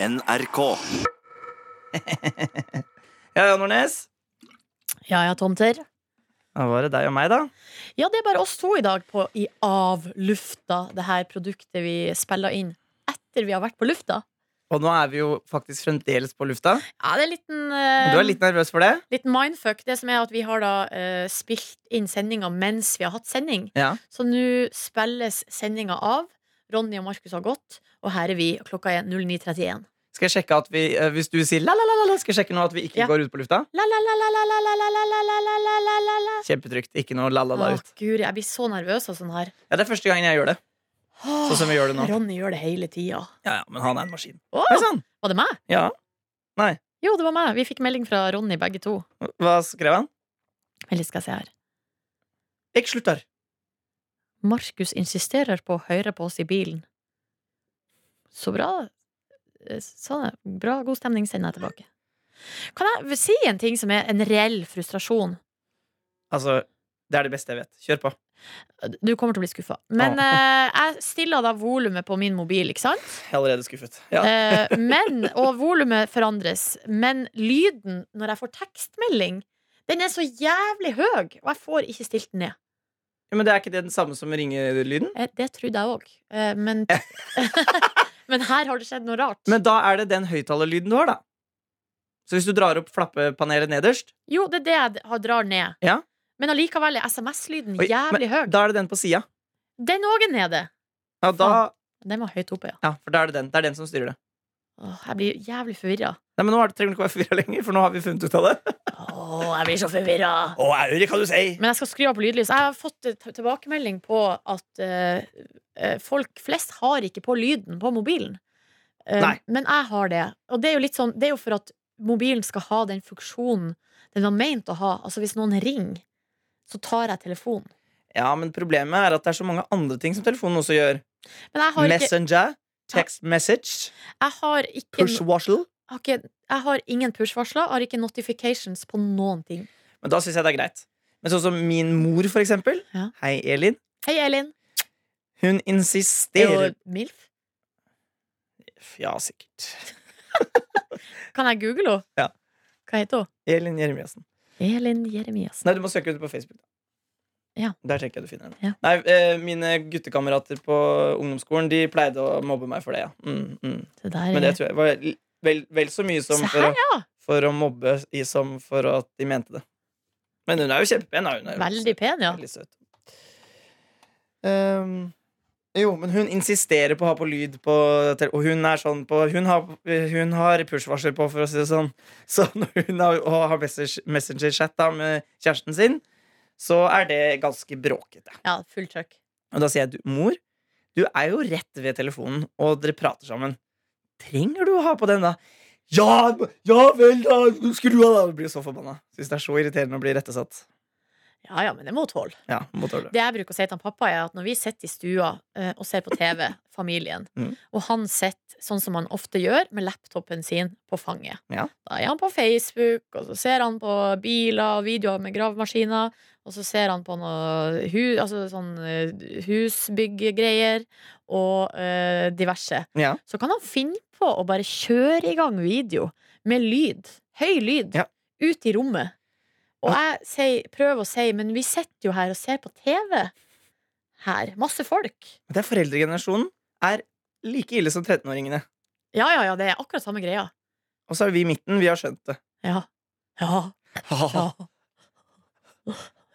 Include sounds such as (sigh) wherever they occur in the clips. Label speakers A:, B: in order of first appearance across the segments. A: NRK.
B: Ja, ja, Nordnes.
C: Ja ja, tomter.
B: Da var det deg og meg, da.
C: Ja, det er bare oss to i dag på I Av lufta, det her produktet vi spiller inn etter vi har vært på lufta.
B: Og nå er vi jo faktisk fremdeles på lufta.
C: Ja, det er en liten,
B: Men
C: eh,
B: Du er litt nervøs for det?
C: liten mindfuck. Det som er at vi har da eh, spilt inn sendinga mens vi har hatt sending.
B: Ja.
C: Så nå spilles sendinga av. Ronny og Markus har gått, og her er vi. Klokka er 09.31.
B: Skal jeg sjekke at vi eh, Hvis du sier la-la-la, skal jeg sjekke nå at vi ikke
C: Ja.
B: går ut på lufta?
C: La-la-la-la-la-la-la-la-la-la-la-la.
B: Kjempetrygt. Ikke noe la-la-la
C: Å,
B: ut.
C: guri, jeg blir så nervøs av sånn her.
B: Ja, Det er første gangen jeg gjør det. Sånn som vi gjør det nå.
C: Ronny gjør det hele tida.
B: Ja, ja, Men han er en maskin.
C: Å,
B: Oi sann!
C: var det meg?
B: Ja.
C: Jo, det var meg. Vi fikk melding fra Ronny, begge to.
B: Hva skrev han?
C: Eller skal jeg se her.
B: Jeg slutter.
C: Markus insisterer på å høre på oss i bilen. Så bra. Eh, Sånn, er- bra, god stemning sender jeg tilbake. Kan jeg si en ting som er en reell frustrasjon?
B: Altså, det er det beste jeg vet. Kjør på.
C: Eh, Du kommer til å bli skuffa. Men eh, jeg stiller da volumet på min mobil, ikke sant?
B: Jeg er allerede skuffet. Ja.
C: Eh, men, og volumet forandres. Men lyden når jeg får tekstmelding, den er så jævlig høy, og jeg får ikke stilt den ned.
B: Ja, Eh, Men det er ikke det den samme som ringelyden?
C: Eh, Det trodde jeg òg, men, (laughs) men her har det skjedd noe rart.
B: Men da er det den høyttalerlyden du har, da. Så hvis du drar opp flappepanelet nederst,
C: Jo, det er det jeg d- har- drar ned.
B: Ja.
C: Men allikevel er SMS-lyden
B: Oi,
C: jævlig høy.
B: da er det den på sida.
C: Den òg er nede.
B: Ja, da,
C: Den var høyt oppe, ja.
B: ja, for da er det den. Det er den som styrer det.
C: Åh, jeg blir jævlig forvirra.
B: Nei, men Nå er det, trenger du ikke være forvirra lenger, for nå har vi funnet ut av det.
C: Åh, jeg blir så forvirra.
B: Å, Auri, kan du si?
C: Men jeg skal skru av på lydlys. Jeg har fått eh, t- tilbakemelding på at eh, eh, folk flest har ikke på lyden på mobilen. Eh,
B: Nei.
C: Men jeg har det. Og det er jo litt sånn Det er jo for at mobilen skal ha den funksjonen den var meint å ha. Altså hvis noen ringer, så tar jeg telefonen.
B: Ja, men problemet er at det er så mange andre ting som telefonen også gjør.
C: Men jeg har ikke,
B: Messenger, text message,
C: jeg har ikke
B: push washle.
C: har ikke, jeg har ingen push-varsler, har ikke notifications på noen ting.
B: Men da syns jeg det er greit. Men sånn som min mor, for eksempel.
C: Ja.
B: Hei, Elin.
C: Hei, Elin.
B: Hun
C: Er
B: insisterer
C: du MILF?
B: Ja, sikkert.
C: Kan jeg google henne?
B: Ja.
C: Hva heter hun?
B: Elin Jeremiassen.
C: Elin Jeremiassen.
B: Nei, du må søke ut på Facebook. da.
C: Ja.
B: Der tenker jeg du finner henne.
C: Ja.
B: Nei, eh, mine guttekamerater på ungdomsskolen De pleide å mobbe meg for det. Ja. Mm, mm.
C: Det der
B: Men det
C: er
B: tror jeg var l- vel, vel så mye som
C: Se
B: for,
C: her,
B: å,
C: ja!
B: for å mobbe i, som for at de mente det. Men hun er jo kjempepen. da. Hun er jo
C: Veldig pen, ja.
B: veldig søt. Ehm, jo, men hun insisterer på å ha på lyd på tele- Og hun er sånn på Hun har, hun har push-varsel på, for å si det sånn. (laughs) Så når hun har, og har message- Messenger-chat da med kjæresten sin, så er det ganske bråkete.
C: ja full trøkk.
B: Og da sier jeg, du, mor, du er jo rett ved telefonen, og dere prater sammen. Trenger du å ha på den, da? Ja, ja vel, da! Skru av, da! Jeg blir så forbanna. Syns det er så irriterende å bli rettesatt.
C: Ja ja, men det må tåle.
B: Ja, må tåle det.
C: Det jeg bruker å si til han pappa, er at når vi sitter i stua eh, og ser på TV,
B: (laughs)
C: familien,
B: Mm.
C: og han sitter sånn som han ofte gjør, med laptopen sin på fanget
B: Ja.
C: Da er han på Facebook, og så ser han på biler og videoer med gravemaskiner, og så ser han på noe hu, altså sånn eh, husbyggegreier og eh, diverse.
B: Ja.
C: Så kan han finne på å bare kjøre i gang video med lyd, høy lyd,
B: Ja.
C: ut i rommet. Og jeg sier, prøver å si, men vi sitter jo her og ser på TV. Her. Masse folk.
B: Det er foreldregenerasjonen er like ille som 13-åringene.
C: Ja, ja, ja, det er akkurat samme greia.
B: Og så er vi i midten. Vi har skjønt det.
C: Ja. Ja. ja.
B: Åssen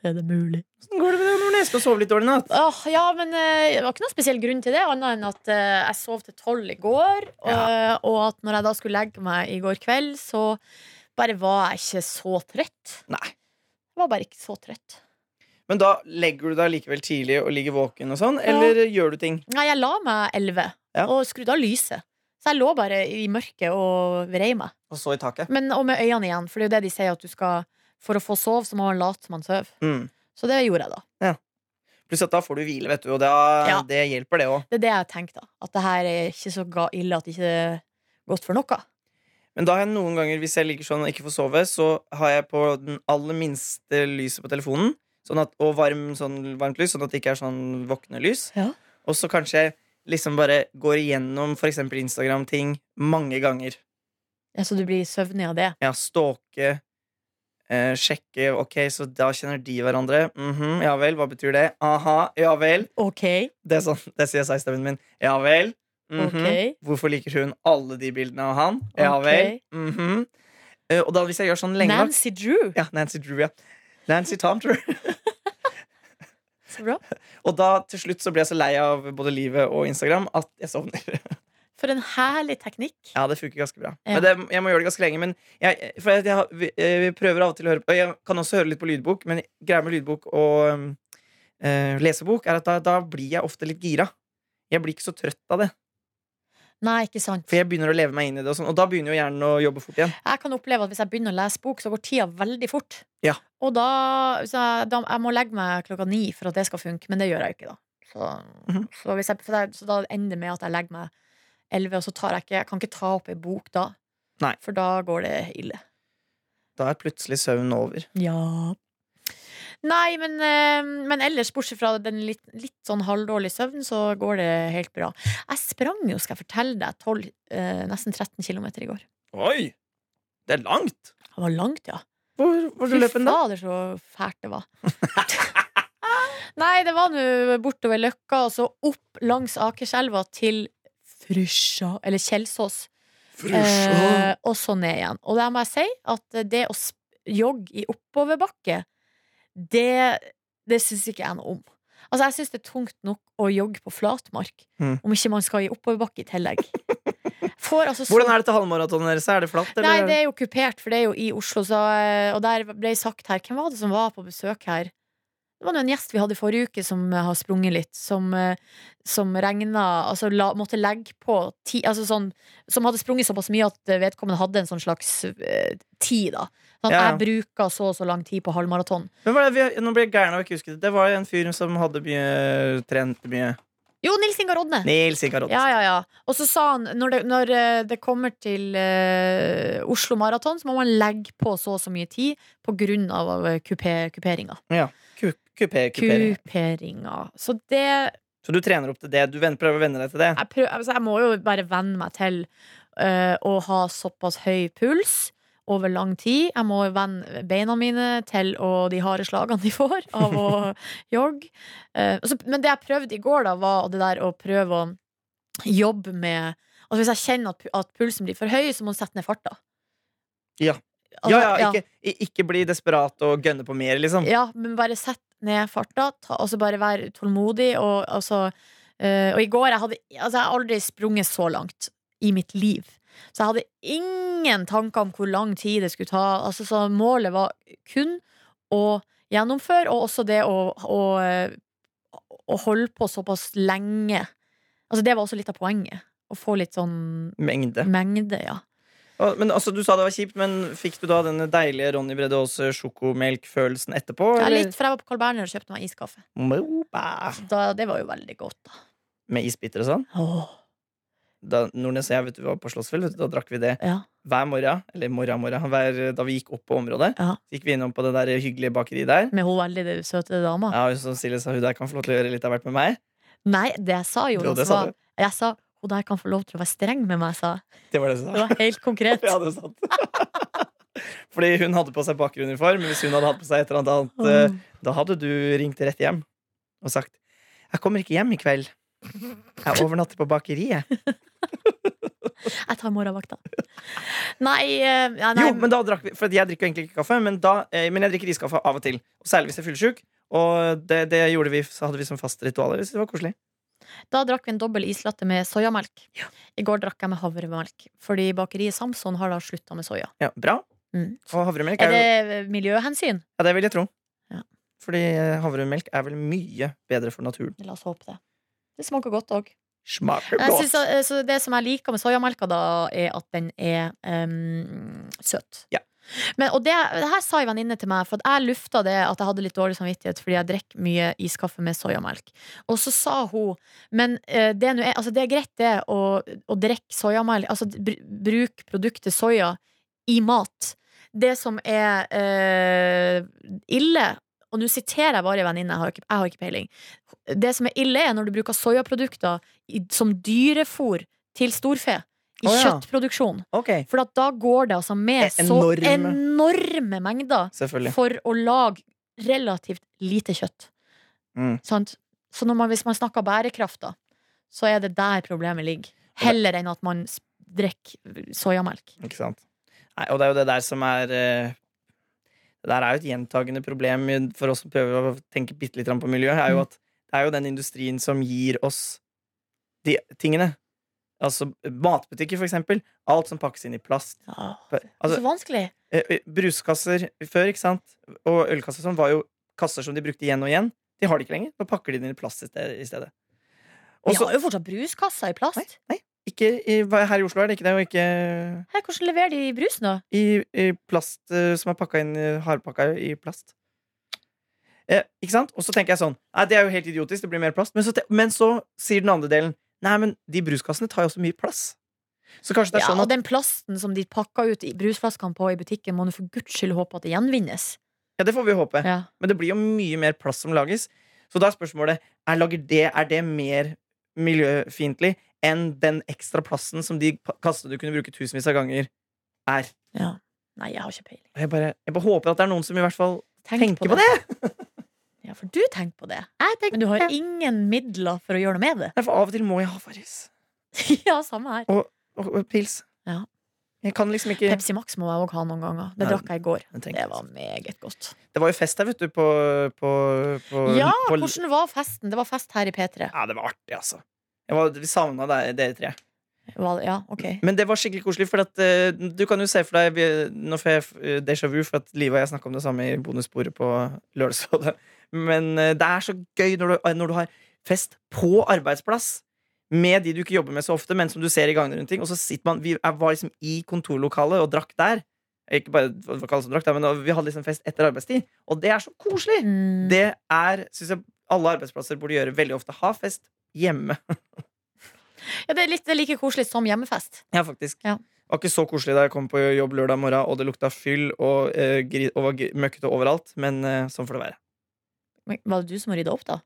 C: Er det mulig?
B: går det med deg, Nordnes? Skal du sove litt dårlig i natt?
C: Åh, ja, men eh, det var ikke noen spesiell grunn til det, annet enn at eh, jeg sov til tolv i går. Og, eh, og at når jeg da skulle legge meg i går kveld, så bare var jeg ikke så trøtt.
B: Nei.
C: Jeg var bare ikke så trøtt.
B: Men da legger du deg likevel tidlig og ligger våken og sånn, eller gjør du ting?
C: Nei, jeg la meg elleve
B: Ja.
C: og skrudde av lyset. Så jeg lå bare i mørket og vrei meg.
B: Og så i taket?
C: Men, og med øynene igjen, for det er jo det de sier at du skal For å få sove, så må man late som man sover.
B: Mm.
C: Så det gjorde jeg, da.
B: Pluss at da får du hvile, vet du, og da,
C: Ja.
B: det hjelper, det òg.
C: Det er det jeg tenkte, da. At det her er ikke så ga ille at ikke det er godt for noe.
B: Men da har jeg noen ganger, hvis jeg ligger sånn og ikke får sove, så har jeg på den aller minste lyset på telefonen, sånn at, og varm, sånn, varmt lys, sånn at det ikke er sånn våkne lys.
C: Ja.
B: Og så kanskje jeg liksom bare går igjennom f.eks. Instagram-ting mange ganger.
C: Ja, så du blir søvnig av det?
B: Ja, stalke, eh, sjekke Ok, så da kjenner de hverandre. Mhm, ja vel, hva betyr det? Aha, ja vel.
C: OK.
B: Det er sånn, (laughs) det sier seg-stemmen min. Ja vel. Mhm.
C: Ok.
B: Hvorfor liker hun alle de bildene av han? Ja
C: Ok.
B: vel. Mhm. Eh, og da hvis jeg gjør sånn lenge nok
C: Nancy Drew.
B: Ja, Nancy Drew, ja. Nancy Tomter.
C: Så bra.
B: (laughs) Og da til slutt så ble jeg så lei av både livet og Instagram at jeg sovner.
C: For en herlig teknikk.
B: Ja, det funker ganske bra.
C: Ja.
B: Men det, jeg må gjøre det ganske lenge. Men jeg, for jeg, jeg, har- vi, eh, vi prøver av og til å høre på Jeg kan også høre litt på lydbok, men greia med lydbok og um, eh, lesebok er at da, da blir jeg ofte litt gira. Jeg blir ikke så trøtt av det,
C: Nei, ikke sant.
B: for jeg begynner å leve meg inn i det. Og, sånn, og da begynner jo hjernen å jobbe fort igjen.
C: Jeg kan oppleve at hvis jeg begynner å lese bok, så går tida veldig fort.
B: Ja.
C: Og da, så jeg, da Jeg må legge meg klokka ni for at det skal funke, men det gjør jeg jo ikke, da. Så,
B: Mhm.
C: så, hvis jeg, for det, er- så da ender det med at jeg legger meg elleve, og så tar jeg ikke Jeg kan ikke ta opp ei bok da.
B: Nei.
C: For da går det ille.
B: Da er plutselig søvnen over.
C: Ja. Nei, men, eh, men ellers, bortsett fra den litt, litt sånn halvdårlige søvnen, så går det helt bra. Jeg sprang jo, skal jeg fortelle deg, 12, eh, nesten 13 km i går.
B: Oi! Det er langt!
C: Det var langt, ja.
B: Hvor, hvor du løp den da?
C: fader, så fælt det var. Nei, det var (laughs) nå bortover Løkka, og så opp langs Akerselva til Frysja, eller Kjelsås. Eh, og så ned igjen. Og der må jeg si at det å sp- jogge i oppoverbakke, det, det syns ikke jeg noe om. Altså, jeg syns det er tungt nok å jogge på flatmark,
B: Mm.
C: om ikke man skal i oppoverbakke i
B: (laughs)
C: tillegg. Får altså så-
B: Hvordan er det til halvmaratonen deres? Er det flatt? Eller?
C: Nei, det er jo kupert, for det er jo i Oslo. Så, eh, og der ble jeg sagt her Hvem var det som var på besøk her? Det var nå en gjest vi hadde i forrige uke som eh, har sprunget litt, som, eh, som regna Altså la, måtte legge på ti altså sånn, Som hadde sprunget såpass mye at eh, vedkommende hadde en sånn slags eh, tid, da.
B: Ja,
C: Sånn,
B: ja.
C: Jeg bruker så og så lang tid på halvmaraton.
B: Hvem var det? Vi, nå blir jeg gæren av å ikke huske det. Det var jo en fyr som hadde mye trent mye.
C: Jo, Nils Ingar Odne!
B: Nils Ingar Odnes.
C: Ja, ja, ja. Og så sa han når det, når eh, det kommer til eh, Oslo Maraton, så må man legge på så og så mye tid på grunn av eh, kupe- kuperinga.
B: Ku- Kupé, kupering.
C: Kuperinga. Så det
B: Så du trener opp til det? Du ven- prøver å venne deg til det?
C: jeg, prøv, altså jeg må jo bare venne meg til eh, å ha såpass høy puls over lang tid. Jeg må venne beina mine til å, de harde slagene de får av
B: (laughs)
C: å jogge. Eh, og så- men det jeg prøvde i går, da, var det der å prøve å jobbe med Altså Hvis jeg kjenner at, pu- at pulsen blir for høy, så må man sette ned farta.
B: Ja.
C: Altså,
B: Ja, ja, ikke, i- ikke bli desperat og gønne på mer, liksom.
C: Ja, men bare sett ned farta, ta, altså bare vær tålmodig. Og, altså, eh, og i går jeg hadde altså, jeg har aldri sprunget så langt i mitt liv. Så jeg hadde ingen tanker om hvor lang tid det skulle ta. Altså, så målet var kun å gjennomføre, og også det å, å, eh, å holde på såpass lenge. Altså, det var også litt av poenget. Å få litt sånn
B: Mengde.
C: mengde, ja.
B: Og, men altså, Du sa det var kjipt, men fikk du da den deilige Ronny Bredde Aas sjokomelkfølelsen etterpå?
C: Jeg er
B: eller?
C: litt, for jeg var på Carl Berner og kjøpte meg iskaffe.
B: Moba.
C: Så da, det var jo veldig godt, da.
B: Med isbiter og sånn?
C: Åh,
B: Da Nordnes og jeg vet du, var på Slottsfjell, vet du, da drakk vi det
C: ja.
B: hver morgen. Eller morgen, morgen. Hver, eh, da vi gikk opp på området,
C: Ja.
B: Så gikk vi innom på det der hyggelige bakeriet der.
C: Med hun veldig søte dama?
B: Ja, og som Silje sa, hun der kan få lov til å gjøre litt av hvert med meg.
C: Nei, det jeg sa, Jonas,
B: Jo, det sa
C: var
B: du.
C: Jeg sa hun der kan få lov til å være streng med meg, sa jeg.
B: Det var det hun
C: Det
B: sa.
C: var helt (laughs) konkret.
B: (laughs) Ja, det er sant. (laughs) Fordi hun hadde på seg bakgrunnsuniform, men hvis hun hadde hatt på seg et eller annet
C: Åh.
B: annet, eh, da hadde du ringt rett hjem og sagt 'Jeg kommer ikke hjem i kveld. Jeg overnatter på bakeriet.'
C: Jeg tar morgenvakta. Nei, eh, ja, nei
B: Jo, men da drakk vi For jeg drikker jo egentlig ikke kaffe, men, da, eh, men jeg drikker iskaffe av og til. Og særlig hvis jeg er fyllesyk. Og det, det gjorde vi, så hadde vi som fast ritual. Jeg synes det var koselig.
C: Da drakk vi en dobbel islatte med soyamelk. I går drakk jeg med havremelk, fordi bakeriet Samson har da slutta med soya.
B: Ja, bra.
C: Mm.
B: Og havremelk
C: Er
B: er jo
C: det miljøhensyn?
B: Ja, det vil jeg tro.
C: Ja.
B: Fordi eh, havremelk er vel mye bedre for naturen.
C: La oss håpe det. Det smaker godt òg.
B: Smaker
C: Jeg
B: godt.
C: synes, at- eh, så det som jeg liker med soyamelka, da, er at den er em, søt.
B: Ja.
C: Men, og det, det her sa en venninne til meg, for at jeg lufta det at jeg hadde litt dårlig samvittighet fordi jeg drikker mye iskaffe med soyamelk. Og så sa hun Men eh, det, nå er, altså, det er greit, det, å, å drikke soyamelk Altså br bruke produktet soya i mat. Det som er eh, ille og nå siterer jeg bare en venninne, jeg, har ikke- jeg har ikke peiling. Det som er ille, er når du bruker soyaprodukter i, som dyrefôr til storfe i
B: Å, ja.
C: kjøttproduksjon.
B: Ok,
C: For at da går det altså med
B: Det er
C: så
B: enorme.
C: enorme mengder
B: selvfølgelig.
C: for å lage relativt lite kjøtt.
B: Mm.
C: Sant? Så når man, hvis man snakker bærekraft, da, så er det der problemet ligger. Heller enn at man s- drikker soyamelk.
B: Ikke sant? Nei, og det er jo det der som er eh, Det der er jo et gjentagende problem i- for oss som prøver å tenke bitte litt på miljø, er jo
C: Mm.
B: at det er jo den industrien som gir oss de tingene. Altså matbutikker, for eksempel. Alt som pakkes inn i plast.
C: Ja,
B: Altså,
C: så vanskelig.
B: eh, eh, bruskasser før, ikke sant? Og ølkasser som var jo kasser som de brukte igjen og igjen. De har det ikke lenger. Da pakker de den i plast i sted- i stedet. Og
C: Vi
B: så
C: har jo fortsatt bruskasser i plast.
B: ikke i, hva- Her i Oslo er det ikke det, og ikke
C: Her, hvordan leverer de brusen, da?
B: i, i plast eh, som er pakka inn eh, hardpakka i plast. Eh, ikke sant? Og så tenker jeg sånn Nei, det er jo helt idiotisk, det blir mer plast. Men så, te- men så sier den andre delen Nei, men de bruskassene tar jo så mye plass. Så kanskje det er
C: Ja,
B: sånn at
C: og den plasten som de pakker ut i brusflaskene på i butikken, må du for guds skyld håpe at det gjenvinnes.
B: Ja, det får vi håpe.
C: Ja.
B: Men det blir jo mye mer plast som lages. Så da er spørsmålet er, lager det, er det mer miljøfiendtlig enn den ekstra plasten som de pa- kassene du kunne bruke tusenvis av ganger, er.
C: ja. Nei, jeg har ikke peiling.
B: Og Jeg bare, jeg bare håper at det er noen som i hvert fall
C: Tenk
B: tenker på det.
C: Ja, for du tenker på det. Men du har ingen midler for å gjøre noe med det.
B: Nei, For av og til må jeg ha Farris
C: (laughs) ja, samme her.
B: og, og pils.
C: Ja.
B: Jeg kan liksom ikke
C: Pepsi Max må jeg òg ha noen ganger. Det
B: Ja,
C: drakk jeg i går.
B: Jeg tenker-
C: Det var meget godt.
B: det var jo fest her, vet du, på, på, på,
C: Ja,
B: på
C: hvordan var festen? Det var fest her i P3.
B: Ja, det var artig, altså. Jeg var, vi savna deg, dere tre.
C: Var- Ja, ok.
B: Men det var skikkelig koselig, for at, eh, du kan jo se for deg vi- Nå får jeg eh, déjà vu, for at Liv og jeg snakka om det samme i bonussporet på Lørdagsrådet. Men eh, det er så gøy når du, eh, når du har fest på arbeidsplass med de du ikke jobber med så ofte, men som du ser i gangene rundt ting. Og så sitter man Vi er- var liksom i kontorlokalet og drakk der. Ikke bare det var ikke alle som drakk der, men vi hadde liksom fest etter arbeidstid. Og det er så koselig!
C: Mm.
B: Det er, syns jeg, alle arbeidsplasser burde gjøre veldig ofte. Ha fest hjemme.
C: Ja, det er litt det er like koselig som hjemmefest.
B: Ja, faktisk.
C: Ja.
B: Det var ikke så koselig da jeg kom på jobb lørdag morgen, og det lukta fyll og, eh, gri, og var gri- møkkete overalt, men eh, sånn får det være.
C: Men var det du som rydda opp, da?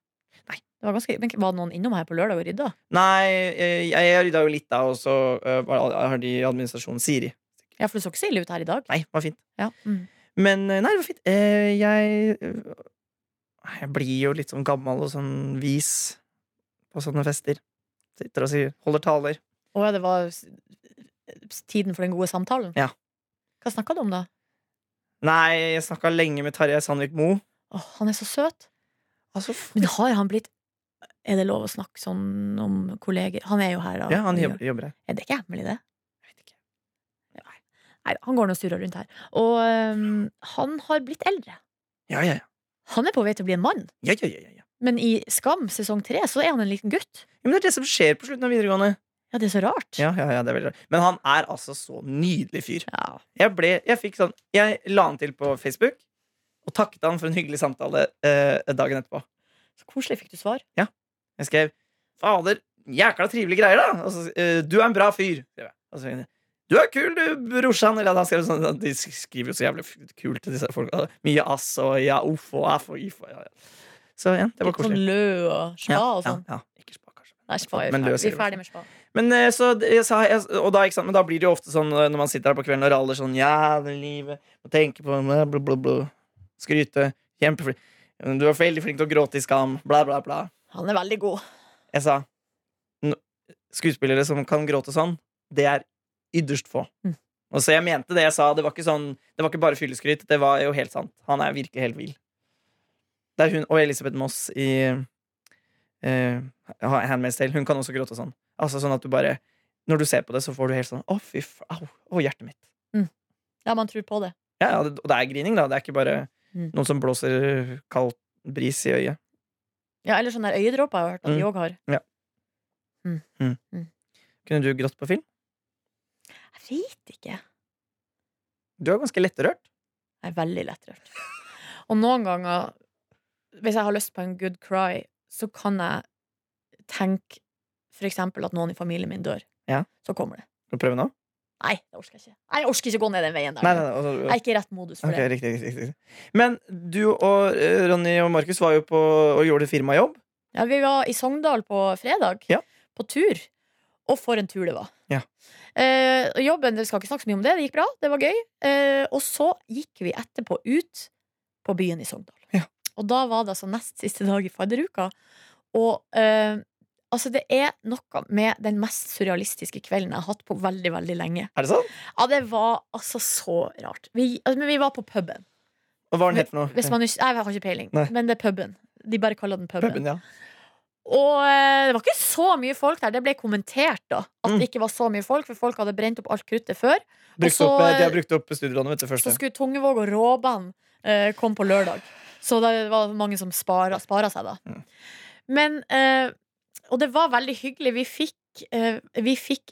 B: Nei.
C: Det var, ganske, men var det noen innom her på lørdag og rydda?
B: Nei, eh, jeg, jeg rydda jo litt da, og så eh, var- har de i administrasjonen Siri.
C: Ja, for det så ikke så ille ut her i dag.
B: Nei, det var fint.
C: Ja. Mm.
B: Men eh, nei, det var fint. Eh, jeg eh, Jeg blir jo litt sånn gammel og sånn vis på sånne fester. Sitter og sier, holder taler.
C: Og ja, det var s- s- tiden for den gode samtalen?
B: Ja.
C: Hva snakka du om, da?
B: Nei, jeg snakka lenge med Tarjei Sandvik Moe.
C: Åh, han er så søt.
B: Altså,
C: Men har han blitt Er det lov å snakke sånn om kolleger? Han er jo her, da.
B: ja, han jobber, jobber her.
C: Er det ikke hemmelig, det?
B: Jeg vet ikke.
C: Nei, han går nå og surrer rundt her. Og øhm, han har blitt eldre.
B: Ja, ja, ja.
C: Han er på vei til å bli en mann,
B: ja, ja, ja, ja.
C: men i Skam sesong tre så er han en liten gutt.
B: Ja, Men det er det som skjer på slutten av videregående.
C: Ja, det er så rart.
B: Ja, ja, ja, det er veldig rart. Men han er altså så nydelig fyr.
C: Ja.
B: Jeg, ble, jeg, fikk sånn, jeg la han til på Facebook og takket han for en hyggelig samtale eh, dagen etterpå.
C: Så koselig fikk du svar.
B: Jeg skrev 'Fader, jækla trivelige greier', da. Og så, eh, 'Du er en bra fyr'. skrev jeg. Og så, du er kul, du, brorsan. Eller, han skrev sånn, de skriver jo så jævlig kult til disse folka. Mye ass og ja, uff og aff og if. Og, ja, ja. Så ja, det var
C: Litt sånn
B: koselig.
C: lø og spa og sånn.
B: Ja, ja, ja. Ikke spa, kanskje.
C: Nei, spa er
B: Men
C: ferdig.
B: lø
C: Vi
B: sier
C: er
B: du
C: ferdig med spa.
B: Men, eh, så, det- jeg, sa- jeg, og da, ikke sant? men da blir det jo ofte sånn eh, når man sitter her på kvelden og raller sånn Jævlig livet. Og tenker på bla, bla, bla, bla. Skryte. Kjempeflink. Du var veldig flink til å gråte i skam. Bla, bla, bla.
C: Han er veldig god.
B: Jeg sa "N- skuespillere som kan gråte sånn, det er ytterst få.
C: Mm.
B: Og så jeg mente det jeg sa. Det var ikke, sånn, det var ikke bare fylleskryt. Det var jo helt sant. Han er virkelig helt vill. Det er hun og Elisabeth Moss i eh, Handmaid's Tale. Hun kan også gråte sånn. Altså sånn at du bare Når du ser på det, så får du helt sånn Å, fy f... Au. Å, hjertet mitt.
C: Ja, man tror på det.
B: Ja, ja, det, og det er grining, da. Det er ikke bare
C: Mm.
B: noen som blåser kald bris i øyet.
C: Ja, Eller sånne der øyedråper jeg har hørt at de
B: Mm.
C: òg har.
B: Kunne du grått på film?
C: Jeg vet ikke.
B: Du er ganske lettrørt.
C: Jeg er veldig lettrørt. Og noen ganger, hvis jeg har lyst på en good cry, så kan jeg tenke for eksempel at noen i familien min dør.
B: Ja.
C: Så kommer det.
B: Skal du prøve nå?
C: Nei, det orker jeg ikke. Nei, jeg orker ikke gå ned den veien der.
B: Nei, altså, nei, nei, og- og-
C: Jeg er ikke i rett modus for
B: Ok, riktig, riktig, riktig, riktig. Men du og eh, Ronny og Markus var jo på og gjorde firmajobb.
C: det. Ja, vi var i Sogndal på fredag,
B: Ja.
C: på tur. Og for en tur det var.
B: Ja.
C: Eh, og jobben, dere skal ikke snakke så mye om det, det gikk bra, det var gøy. Eh, og så gikk vi etterpå ut på byen i Sogndal.
B: Ja.
C: Og da var det altså nest siste dag i fadderuka. Og eh, altså, det er noe med den mest surrealistiske kvelden jeg har hatt på veldig, veldig lenge.
B: Er det sånn?
C: Ja, det var altså så rart. Vi, altså, men vi var på puben.
B: Og hva er den het for noe?
C: Hvis man, ikke- nei, jeg har ikke peiling,
B: Nei.
C: men det er puben. De bare kaller den puben.
B: Puben, ja.
C: Og eh, det var ikke så mye folk der. Det ble kommentert da at
B: Mm.
C: det ikke var så mye folk, for folk hadde brent opp alt kruttet før.
B: Brukt
C: så,
B: opp, eh,
C: eh,
B: de har brukt opp studielånet vet du, først.
C: Så
B: Ja.
C: skulle Tungevåg og Råband eh, komme på lørdag. Så det var mange som spara, spara seg, da.
B: Mm.
C: Men eh, Og det var veldig hyggelig. Vi fikk, eh, vi fikk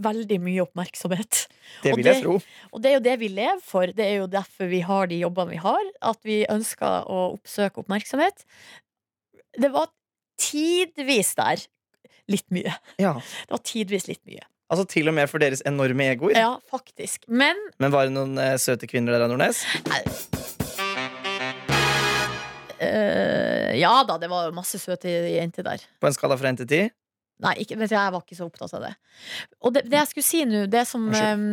C: veldig mye oppmerksomhet.
B: Det
C: og
B: vil jeg
C: det-
B: tro.
C: Og det er jo det vi lever for. Det er jo derfor vi har de jobbene vi har. At vi ønsker å oppsøke oppmerksomhet. Det var tidvis der litt mye.
B: Ja.
C: Det var tidvis litt mye.
B: Altså Til og med for deres enorme egoer.
C: Ja, faktisk. Men
B: Men var det noen eh, søte kvinner der, Nordnes?
C: eh, Ja da, det var masse søte jenter der.
B: På en skala fra 1 til 10?
C: Nei, ikke, vet du, jeg var ikke så opptatt av det. Og det, det jeg skulle si nå, det som eh,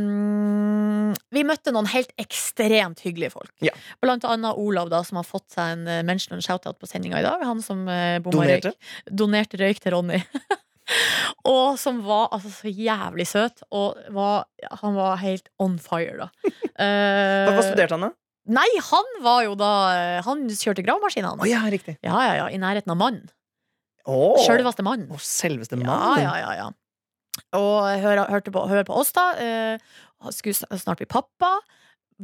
C: Vi møtte noen helt ekstremt hyggelige folk.
B: Ja.
C: Blant annet Olav, da, som har fått seg en eh, mention og en shoutout på sendinga i dag. Han som uh, bomma røyk.
B: Donerte?
C: Donerte røyk til Ronny. (laughs) og som var altså så jævlig søt. Og var, han var helt on fire, da. Eh,
B: (laughs) Hva, hva studerte han, da?
C: Nei, han var jo da Han kjørte gravemaskin,
B: Å
C: han.
B: ja, riktig.
C: Ja, ja, ja, I nærheten av mannen.
B: Oh.
C: Sjølveste mannen.
B: selveste
C: Ja,
B: mannen.
C: ja, ja, ja. Og hør, hørte på, hør på oss, da. Eh, han skulle sn- snart bli pappa.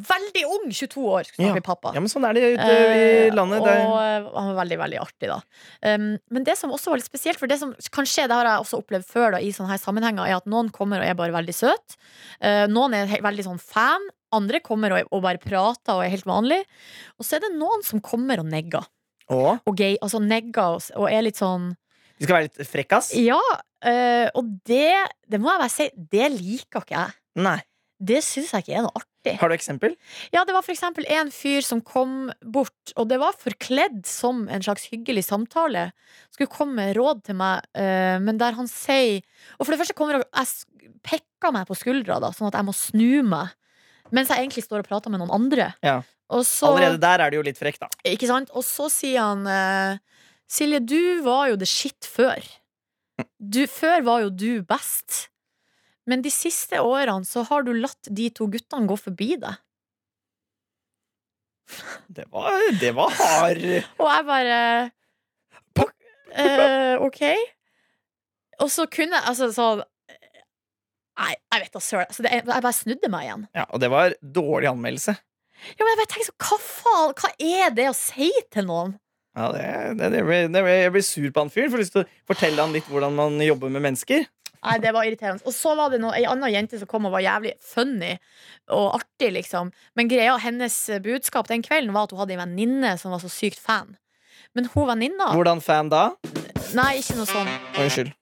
C: Veldig ung! 22 år skulle snart
B: Ja.
C: bli pappa.
B: Ja, men sånn er det ute i
C: Eh,
B: landet.
C: og
B: Det er-
C: eh, han var veldig, veldig artig, da. Um, men det som også var litt spesielt, for det som kan skje, det har jeg også opplevd før da, i sånne her sammenhenger, er at noen kommer og er bare veldig søt. Eh, noen er he- veldig sånn fan. Andre kommer og, og bare prater og er helt vanlig. Og så er det noen som kommer og negger.
B: Å,
C: Og gay, altså negger og, s- og er litt sånn
B: de skal være litt frekkas?
C: Ja! eh, og det, det må jeg bare si, det liker ikke jeg.
B: Nei.
C: Det syns jeg ikke er noe artig.
B: Har du eksempel?
C: Ja, det var for eksempel en fyr som kom bort, og det var forkledd som en slags hyggelig samtale. Skulle komme med råd til meg, eh, men der han sier Og for det første kommer han- jeg s- pekker meg på skuldra, da, sånn at jeg må snu meg. Mens jeg egentlig står og prater med noen andre.
B: Ja.
C: Og så,
B: Allerede der er det jo litt frekk, da.
C: Ikke sant? Og så sier han eh, Silje, du var jo det shit før. Du, før var jo du best. Men de siste årene så har du latt de to guttene gå forbi deg.
B: Det var, det var hard.
C: Og jeg bare
B: Pop.
C: eh, Ok Og så kunne jeg altså, sånn Nei, jeg vet da søren. Altså, det- jeg bare snudde meg igjen.
B: Ja, og det var dårlig anmeldelse.
C: Ja, men jeg bare tenkte så, Hva faen? Hva er det å si til noen?
B: Ja, det, det, det, blir- det, blir- jeg blir sur på han fyren. Får lyst til å fortelle han litt hvordan man jobber med mennesker.
C: Nei, Det var irriterende. Og så var det noe, ei anna jente som kom og var jævlig funny og artig, liksom. Men greia hennes budskap den kvelden var at hun hadde ei venninne som var så sykt fan. Men hun venninna
B: Hvordan fan da?
C: Nei, ikke noe sånn.
B: Å, Unnskyld.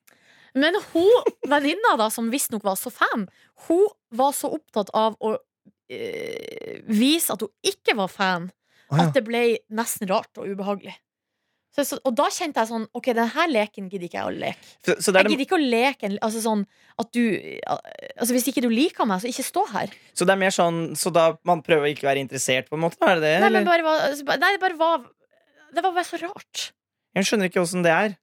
C: Men hun venninna da, som visstnok var så fan, hun var så opptatt av å eh, vise at hun ikke var fan,
B: Å, ja.
C: at det ble nesten rart og ubehagelig. Så, så, og da kjente jeg sånn Ok, denne leken gidder ikke jeg å leke.
B: Så, så, det
C: Jeg
B: er det,
C: gidder ikke å leke en- altså sånn at du Altså Hvis ikke du liker meg, så ikke stå her.
B: så det er mer sånn Så da man prøver å ikke være interessert, på en måte? Er det det?
C: Nei, men
B: eller?
C: bare, var- altså, bare- nei, det bare var Det var bare så rart.
B: Jeg skjønner ikke åssen det er.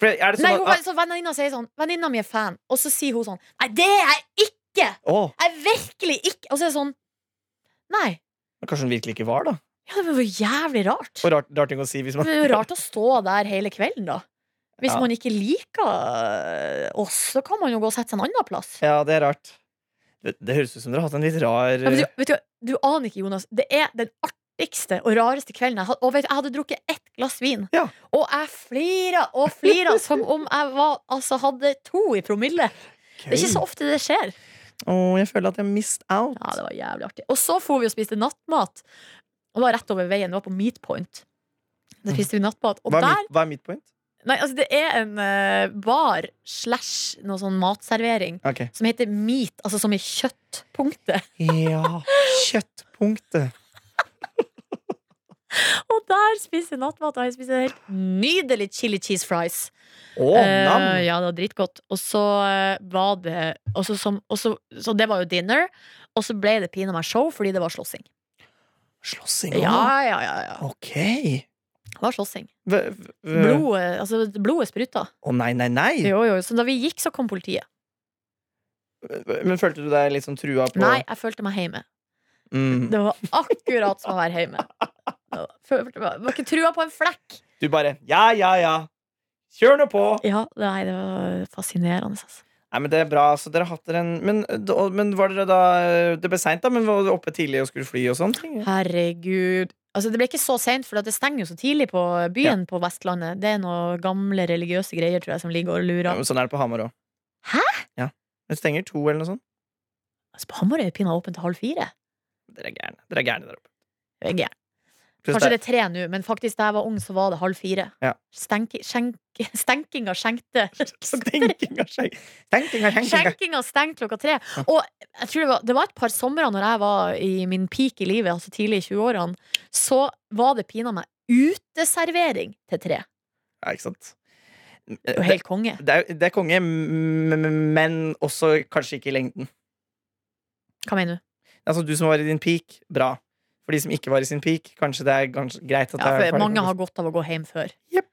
B: For er det sånn
C: Nei, hun,
B: at,
C: så Venninna sier sånn Venninna mi er fan, og så sier hun sånn Nei, det er jeg ikke!
B: Å,
C: Jeg er virkelig ikke Og så er det sånn Nei.
B: men kanskje hun virkelig ikke var, da?
C: Ja, det var jo jævlig rart.
B: Og rart, rart ting å si hvis
C: Det
B: man
C: var jo rart å stå der hele kvelden, da. Hvis
B: Ja.
C: man ikke liker øh, oss, så kan man jo gå og sette seg en annen plass.
B: (laughs) Ja, det er rart. Det, det høres ut som dere har hatt en litt rar eh,
C: Ja, men du, vet du, du aner ikke, Jonas. Det er den artigste og rareste kvelden jeg hadde. Og vet, du, jeg hadde drukket ett glass vin,
B: Ja.
C: og jeg flira og flira som om jeg var, altså, hadde to i promille. Det er ikke så ofte det skjer.
B: Å, jeg føler at jeg missed out.
C: Ja, det var jævlig artig. Og så for vi og spiste nattmat. Og det var rett over veien. Det var på Meatpoint. Da spiste vi nattmat. Og
B: Mm. hva, er
C: der
B: mitt, hva er mitt point?
C: Nei, altså det er en eh, bar slash noe sånn matservering
B: Ok.
C: som heter meat, altså som i kjøttpunktet. (laughs)
B: Ja, kjøttpunktet.
C: Og der spiser jeg nattmat, og jeg spiser helt nydelig chili cheese fries.
B: Å, nam!
C: Eh, ja, det var dritgodt. Og så eh, var det og så som, og så, så det var jo dinner, og så ble det pinadø meg show fordi det var slåssing.
B: Slåssing
C: Ja,
B: også?
C: ja, ja. ja.
B: Ok.
C: Det var slåssing.
B: V- v-
C: Blodet, altså, blodet spruta.
B: Å, nei, nei, nei!
C: Jo, jo. Så da vi gikk, så kom politiet.
B: Men følte du deg litt sånn trua på
C: Nei, jeg følte meg hjemme.
B: Mm.
C: Det var akkurat som å være (laughs) hjemme. Det var- følte meg- Var ikke trua på en flekk.
B: Du bare ja, ja, ja. Kjør nå på!
C: Ja, nei, det var fascinerende, altså.
B: Nei, men Det er bra. så dere har hatt dere en Men, da- men var dere da Det ble seint, da, men var dere oppe tidlig og skulle fly og sånn?
C: Herregud. Altså, det ble ikke så seint, for at det stenger jo så tidlig på byen på Vestlandet. Det er noen gamle religiøse greier tror jeg, som ligger og
B: Ja,
C: lurer.
B: men sånn er det på Hamar òg.
C: Hæ?
B: Ja. Det stenger to eller noe sånt.
C: Altså, på Hamarøy er pinadø åpent til halv fire.
B: Dere er gærne. Dere er gærne der oppe.
C: Det er gærent.
B: Pluss
C: Kanskje
B: det-
C: det er tre nå, men faktisk da jeg var ung, så var det halv fire.
B: Ja.
C: Stenki- skjenk- (laughs) Stenkinga skjenkte
B: (laughs) Stenking av skjegg. Stenking av skjenkinga.
C: Skjenkinga stengte klokka tre. Og jeg tror det, var, det var et par somre når jeg var i min peak i livet, altså tidlig i 20-årene, så var det pinadø meg uteservering til tre.
B: Ja, ikke sant.
C: Det er jo helt konge.
B: Det er, det er konge, m- m- men også kanskje ikke i lengden.
C: Hva mener du?
B: Altså Du som var i din peak, bra. For de som ikke var i sin peak, kanskje det er gans- greit at
C: Ja,
B: det er
C: for
B: ferdig.
C: mange har godt av å gå hjem før.
B: Jepp.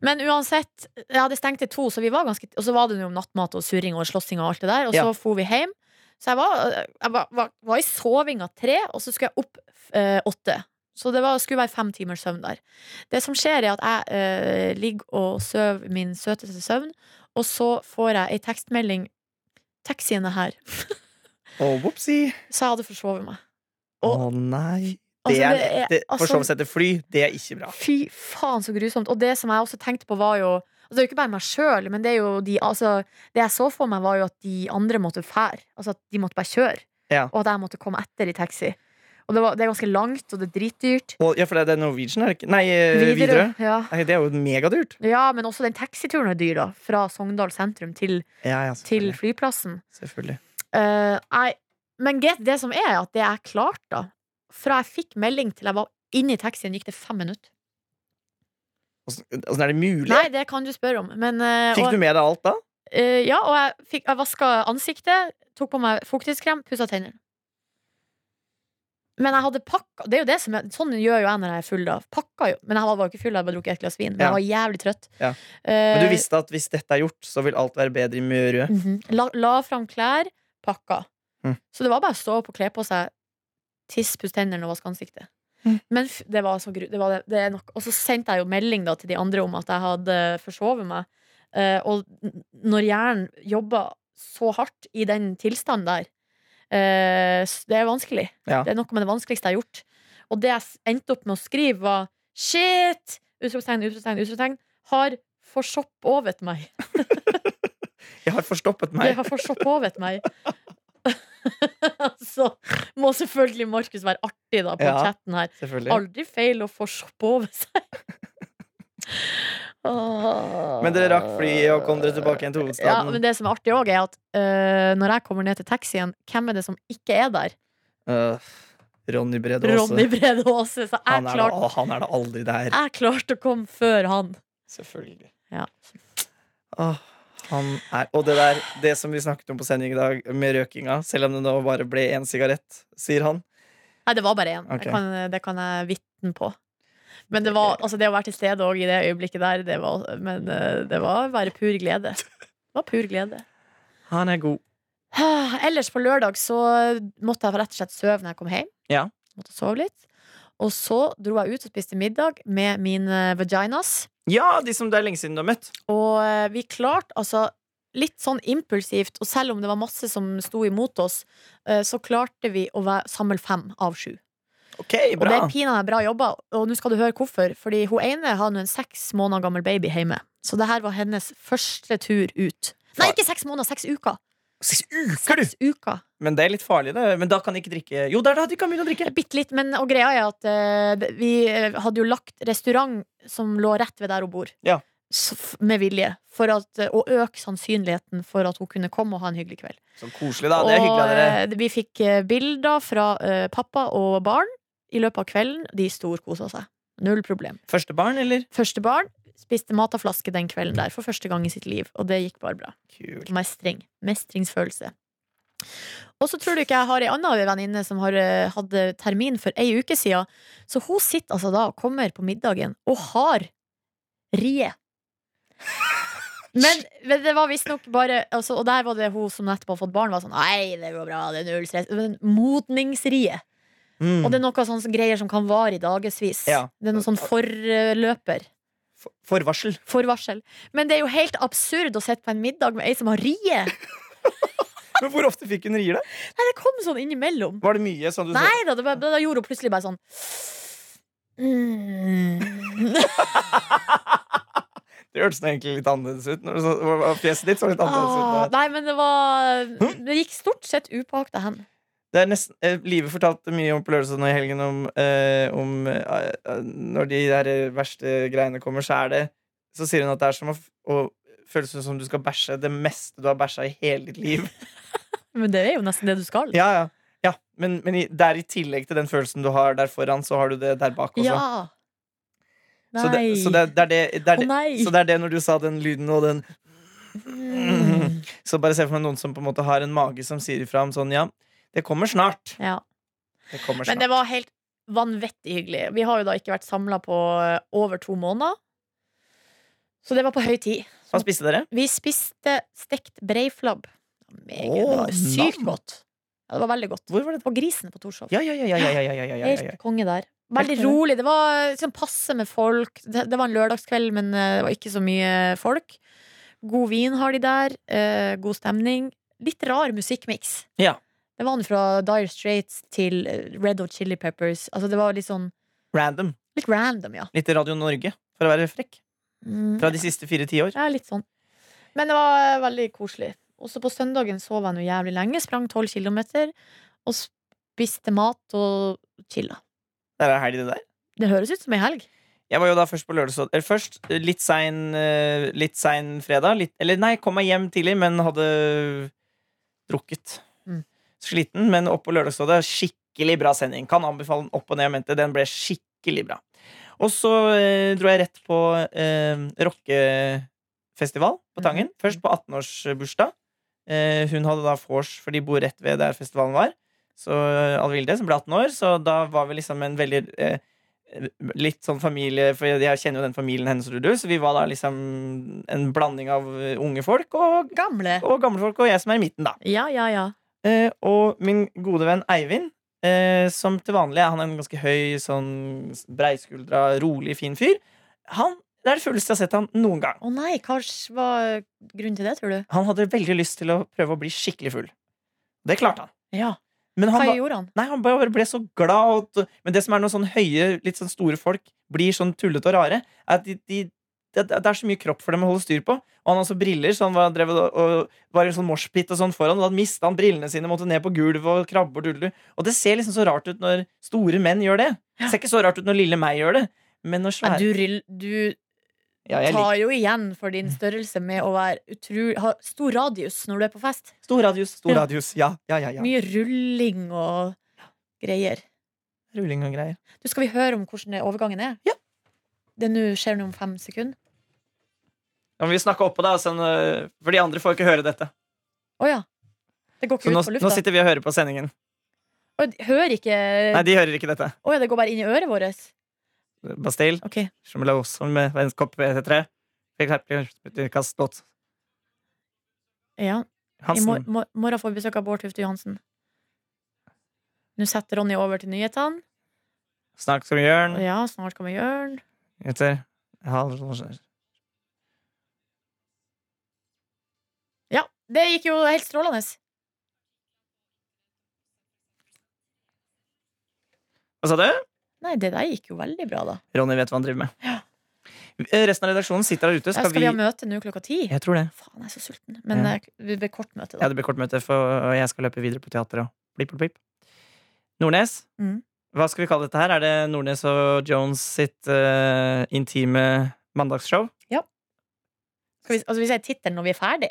C: Men uansett, ja, det stengte to, så vi var ganske Og så var det jo nattmat og surring og slåssing og alt det der, og
B: Ja.
C: så for vi hjem. Så jeg var, jeg var, var, var i sovinga tre, og så skulle jeg opp eh, åtte. Så det var, skulle være fem timers søvn der. Det som skjer, er at jeg eh, ligger og sover min søteste søvn, og så får jeg ei tekstmelding 'Taxien er her',
B: Å, whoopsie.
C: så jeg hadde forsovet meg.
B: Å
C: Og-
B: nei. Det
C: Altså,
B: er,
C: det er-
B: det,
C: altså-
B: for så vidt etter fly, det er ikke bra.
C: Fy faen, så grusomt. Og det som jeg også tenkte på, var jo altså Det er jo ikke bare meg sjøl, men det er jo de altså, Det jeg så for meg, var jo at de andre måtte fære. Altså at de måtte bare kjøre.
B: Ja.
C: Og at jeg måtte komme etter i taxi. Og det, var, det er ganske langt, og det er dritdyrt.
B: Og, ja, for det er Norwegian, er det ikke? Nei, eh, Widerøe.
C: Ja.
B: Nei, Det er jo megadyrt.
C: ja, men også den taxituren er dyr, da. Fra Sogndal sentrum til,
B: Ja, ja,
C: til
B: selvfølgelig.
C: flyplassen.
B: selvfølgelig.
C: Eh, nei, men get det som er, at det jeg klarte, da Fra jeg fikk melding til jeg var inne i taxien, gikk det fem minutter.
B: Åssen åssen er det mulig?
C: Nei, det kan du spørre om. Men, eh, og-
B: Fikk du med deg alt da?
C: Eh, ja, og jeg, fikk, jeg vaska ansiktet, tok på meg fuktighetskrem, pussa tennene. Men jeg hadde pakka Det er jo det som jeg, Sånn gjør jo jeg når jeg er full. da Pakka jo, Men jeg var jo ikke full, jeg hadde bare drukket et glass vin. Men
B: Ja.
C: jeg var jævlig trøtt.
B: Ja.
C: Eh,
B: Men du visste at hvis dette er gjort, så vil alt være bedre i Møre.
C: mhm. la, la fram klær, pakka.
B: Mm.
C: Så det var bare å stå opp og kle på seg, tiss, pusse tennene og vaske ansiktet.
B: Mm.
C: Men f det var så gru... Det var det, det er nok. Og så sendte jeg jo melding da, til de andre om at jeg hadde forsovet meg. Eh, og n- når hjernen jobber så hardt i den tilstanden der, eh, s- det er vanskelig.
B: Ja.
C: Det er noe med det vanskeligste jeg har gjort. Og det jeg s- endte opp med å skrive, var shit! Utropstegn, utropstegn, utropstegn. Har forsoppet meg.
B: Jeg har forstoppet
C: Det
B: meg.
C: har fortsatt påvet meg. (laughs) så må selvfølgelig Markus være artig da på
B: Ja.
C: chatten her.
B: Selvfølgelig.
C: Aldri feil å få sove seg.
B: (laughs) Men dere rakk flyet og kom dere tilbake igjen til
C: Ja,
B: hovedstaden.
C: men det som er artig òg, er at øh, når jeg kommer ned til taxien, hvem er det som ikke er der?
B: Øh, Ronny Brede Aase.
C: Ronny Brede Aase. Så jeg
B: Han, er da-
C: klarte,
B: å, han er da aldri der.
C: jeg klarte å komme før han.
B: Selvfølgelig.
C: Ja.
B: Åh, han er, og det der, det som vi snakket om på sending i dag, med røkinga, selv om det nå bare ble én sigarett, sier han.
C: Nei, det var bare én.
B: Ok.
C: Det, kan, det kan jeg vitne på. Men det, var, altså det å være til stede òg i det øyeblikket der, det var, men eh, det var bare pur glede. Det var pur glede. (sighs)
B: Han er god.
C: Ellers på lørdag så måtte jeg rett og slett sove når jeg kom hjem.
B: Ja.
C: Måtte sove litt. Og så dro jeg ut og spiste middag med mine vaginas.
B: Ja, de som det er lenge siden du har møtt.
C: Og eh, vi klarte altså Litt sånn impulsivt, og selv om det var masse som sto imot oss, eh, så klarte vi å væ- samle fem av sju.
B: Ok,
C: Og det
B: bra.
C: er pinadø bra jobba, og nå skal du høre hvorfor. Fordi hun ene har nå en seks måneder gammel baby hjemme. Så det her var hennes første tur ut. Nei, ikke seks måneder, seks uker!
B: Seks uker, du!
C: Seks uker.
B: Men det er litt farlig, det. Men da kan de ikke drikke Jo, det er da de kan begynne å drikke.
C: Bitte litt, men og greia er at eh, det- vi eh, hadde jo lagt restaurant som lå rett ved der hun bor.
B: Ja.
C: s- f- med vilje for at, eh, å øke sannsynligheten for at hun kunne komme og ha en hyggelig kveld.
B: Så koselig, da. Det er hyggelig av dere.
C: eh, vi fikk eh, bilder fra eh, pappa og barn i løpet av kvelden. De storkosa seg. Null problem.
B: Første barn, eller?
C: Første barn spiste mat av flaske den kvelden der for første gang i sitt liv, og det gikk bare bra.
B: Kult.
C: Mestring. Mestringsfølelse. Og så tror du ikke jeg har ei anna venninne som har eh, hadde termin for ei uke siden. Så hun sitter altså da og kommer på middagen og har
B: (laughs)
C: rie. Men, men det var visstnok bare altså, Og der var det hun som nettopp har fått barn, var sånn Nei, det går bra, det er null stress. Men modningsrie.
B: Mm.
C: Og det er noe sånn som greier som kan vare i dagevis.
B: Ja.
C: Det er noe sånn forløper.
B: For- Forvarsel.
C: Forvarsel. Men det er jo helt absurd å sitte på en middag med ei som har rie.
B: (laughs) Men hvor ofte fikk hun rier, da?
C: Nei, det kom sånn innimellom.
B: Var det mye? Sånn du sa-
C: Nei da, det bare, da gjorde hun plutselig bare sånn mm.
B: Det hørtes nå egentlig litt annerledes ut. Når du så, fjeset ditt så litt annerledes ut.
C: ah,
B: da.
C: Nei, men det var Det gikk stort sett upåakta hen.
B: Det er nesten, eh, Live fortalte mye om på lørdag nå i helgen om, eh, om eh, eh, Når de der eh, verste greiene kommer, så er det Så sier hun at det er som å, f- å føles som om du skal bæsje det meste du har bæsja i hele ditt
C: (laughs)
B: liv.
C: Men det er jo nesten det du skal.
B: Ja, ja, ja. Men, men i, der i tillegg til den følelsen du har der foran, så har du det der bak også.
C: Ja.
B: sånn.
C: Nei.
B: Så, det, så, det, det er det, det er
C: Å
B: det,
C: nei.
B: så det er det når du sa den lyden og den
C: Mm.
B: Så bare se for meg noen som på en måte har en mage som sier ifra om sånn Ja, det kommer snart.
C: ja.
B: Det kommer
C: Men
B: snart.
C: det var helt vanvittig hyggelig. Vi har jo da ikke vært samla på eh, over to måneder. Så det var på høy tid.
B: Hva spiste dere?
C: Vi spiste stekt breiflabb. Meget
B: Åh,
C: bra. Sykt
B: nam.
C: godt. Ja, det var veldig godt.
B: Hvor var det?
C: På Grisen på Torshov.
B: Ja, ja, ja, ja, ja, ja, ja, ja, ja, ja, ja.
C: Helt konge der. Veldig
B: konge.
C: rolig. Det var liksom, passe med folk. Det, det var en lørdagskveld, men eh, det var ikke så mye folk. God vin har de der. eh, god stemning. Litt rar musikkmiks.
B: Ja.
C: Det var den fra Dire Straits til eh, Red Hot Chili Peppers. Altså, det var litt sånn
B: Random.
C: Litt random, ja.
B: Litt Radio Norge, for å være frekk.
C: Mm,
B: Fra de siste fire tiår.
C: ja litt sånn. Men det var eh, veldig koselig. Også på søndagen sov jeg noe jævlig lenge. Sprang tolv kilometer. Og spiste mat og chilla.
B: Der er helg, det der.
C: Det høres ut som ei helg.
B: Jeg var jo da først på lørdagsråd Eller først eh, litt sein, eh, litt sein fredag. Litt, eller nei, kom meg hjem tidlig, men hadde drukket.
C: Mm.
B: Sliten, men opp på lørdagsrådet. Skikkelig bra sending. Kan anbefale den opp og ned og mente. Den ble skikkelig bra. Og så eh, dro jeg rett på eh, rockefestival på Tangen. Først på 18-årsbursdag. Eh, hun hadde da vors, for de bor rett ved der festivalen var. Så eh, Alvilde, som ble 18 år, så da var vi liksom en veldig eh, litt sånn familie For jeg kjenner jo den familien hennes, Rudu, så vi var da liksom en blanding av eh, unge folk og,
C: Gamle.
B: og gamle folk, og jeg som er i midten, da.
C: Ja, ja, ja.
B: Eh, og min gode venn Eivind, eh, som til vanlig er han er en ganske høy, sånn breiskuldra, rolig, fin fyr, han, det er det fulleste jeg har sett han noen gang.
C: Å nei, hva var grunnen til det, tror du?
B: Han hadde veldig lyst til å prøve å bli skikkelig full. Det klarte han.
C: Ja,
B: Men
C: Hva
B: han, ba,
C: gjorde han?
B: nei, han bare ble så glad. Og, men det som er noen sånn høye, litt sånn store folk blir sånn tullete og rare, er at de, de, det, det er så mye kropp for dem å holde styr på. Og han har også briller, så han var, drev, og, og, var i sånn moshpit og sånn foran. Og da mista han brillene sine, måtte ned på gulvet og krabbe og dulle. Og det ser liksom så rart ut når store menn gjør det. Det ser ikke så rart ut når lille meg gjør det. Men når
C: Nei,
B: svære
C: du ryll- du
B: ja, jeg liker
C: tar jo igjen for din størrelse med å være utru, ha stor radius når du er på fest.
B: Stor radius, stor
C: Ja.
B: radius. Ja, ja, ja. ja.
C: Mye rulling og greier.
B: Rulling og greier.
C: Du, Skal vi høre om hvordan det overgangen er?
B: Ja.
C: Det nå skjer nå om fem sekunder.
B: Ja, men vi snakka oppå deg, sånn, øh, for de andre får ikke høre dette.
C: Å ja. Det går
B: Så
C: ikke
B: nå,
C: ut på
B: nå
C: lufta.
B: sitter vi og hører på sendingen.
C: Å, de hører ikke
B: Nei,
C: Å
B: de hører ikke dette.
C: ja, det går bare inn i øret vårt.
B: Bastille,
C: Ok.
B: som la oss som med verdens kopp ET3. Fikk herpelig kast låt.
C: Ja. I mor
B: Hansen.
C: mor morgen får vi besøk av Bård Tufte Johansen. Nå setter Ronny over til nyhetene.
B: Snakk som Jørn.
C: Ja, snart kommer Jørn.
B: Heter Halvorsen.
C: Ja, det gikk jo helt strålende.
B: Hva sa du?
C: Nei, det der gikk jo veldig bra, da.
B: Ronny vet hva han driver med.
C: Ja.
B: Eh, Resten av redaksjonen sitter der ute.
C: Skal,
B: Skal,
C: skal vi... ha møte nå klokka ti?
B: Jeg tror det.
C: Faen, jeg er så sulten. Men
B: Ja.
C: eh, vi blir kort møte,
B: Ja,
C: da.
B: det blir kort møte, for og jeg skal løpe videre på teateret. og Blipp, blipp, blipp. Nordnes.
C: Mm.
B: Hva skal vi kalle dette her? Er det Nordnes og Jones sitt eh, intime mandagsshow?
C: Ja. Skal vi, altså, vi sier tittelen når vi er ferdig.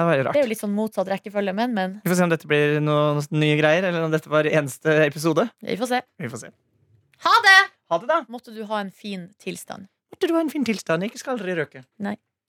B: Det var jo
C: Det er
B: rart.
C: jo litt sånn motsatt rekkefølge, men, men
B: Vi får se om dette blir noen nye greier, eller om dette var eneste episode.
C: vi får se.
B: Vi får se.
C: Ha det!
B: Ha det, da.
C: Måtte du ha en fin tilstand.
B: Måtte du ha en fin tilstand. Ikke skal aldri røke.
C: Nei.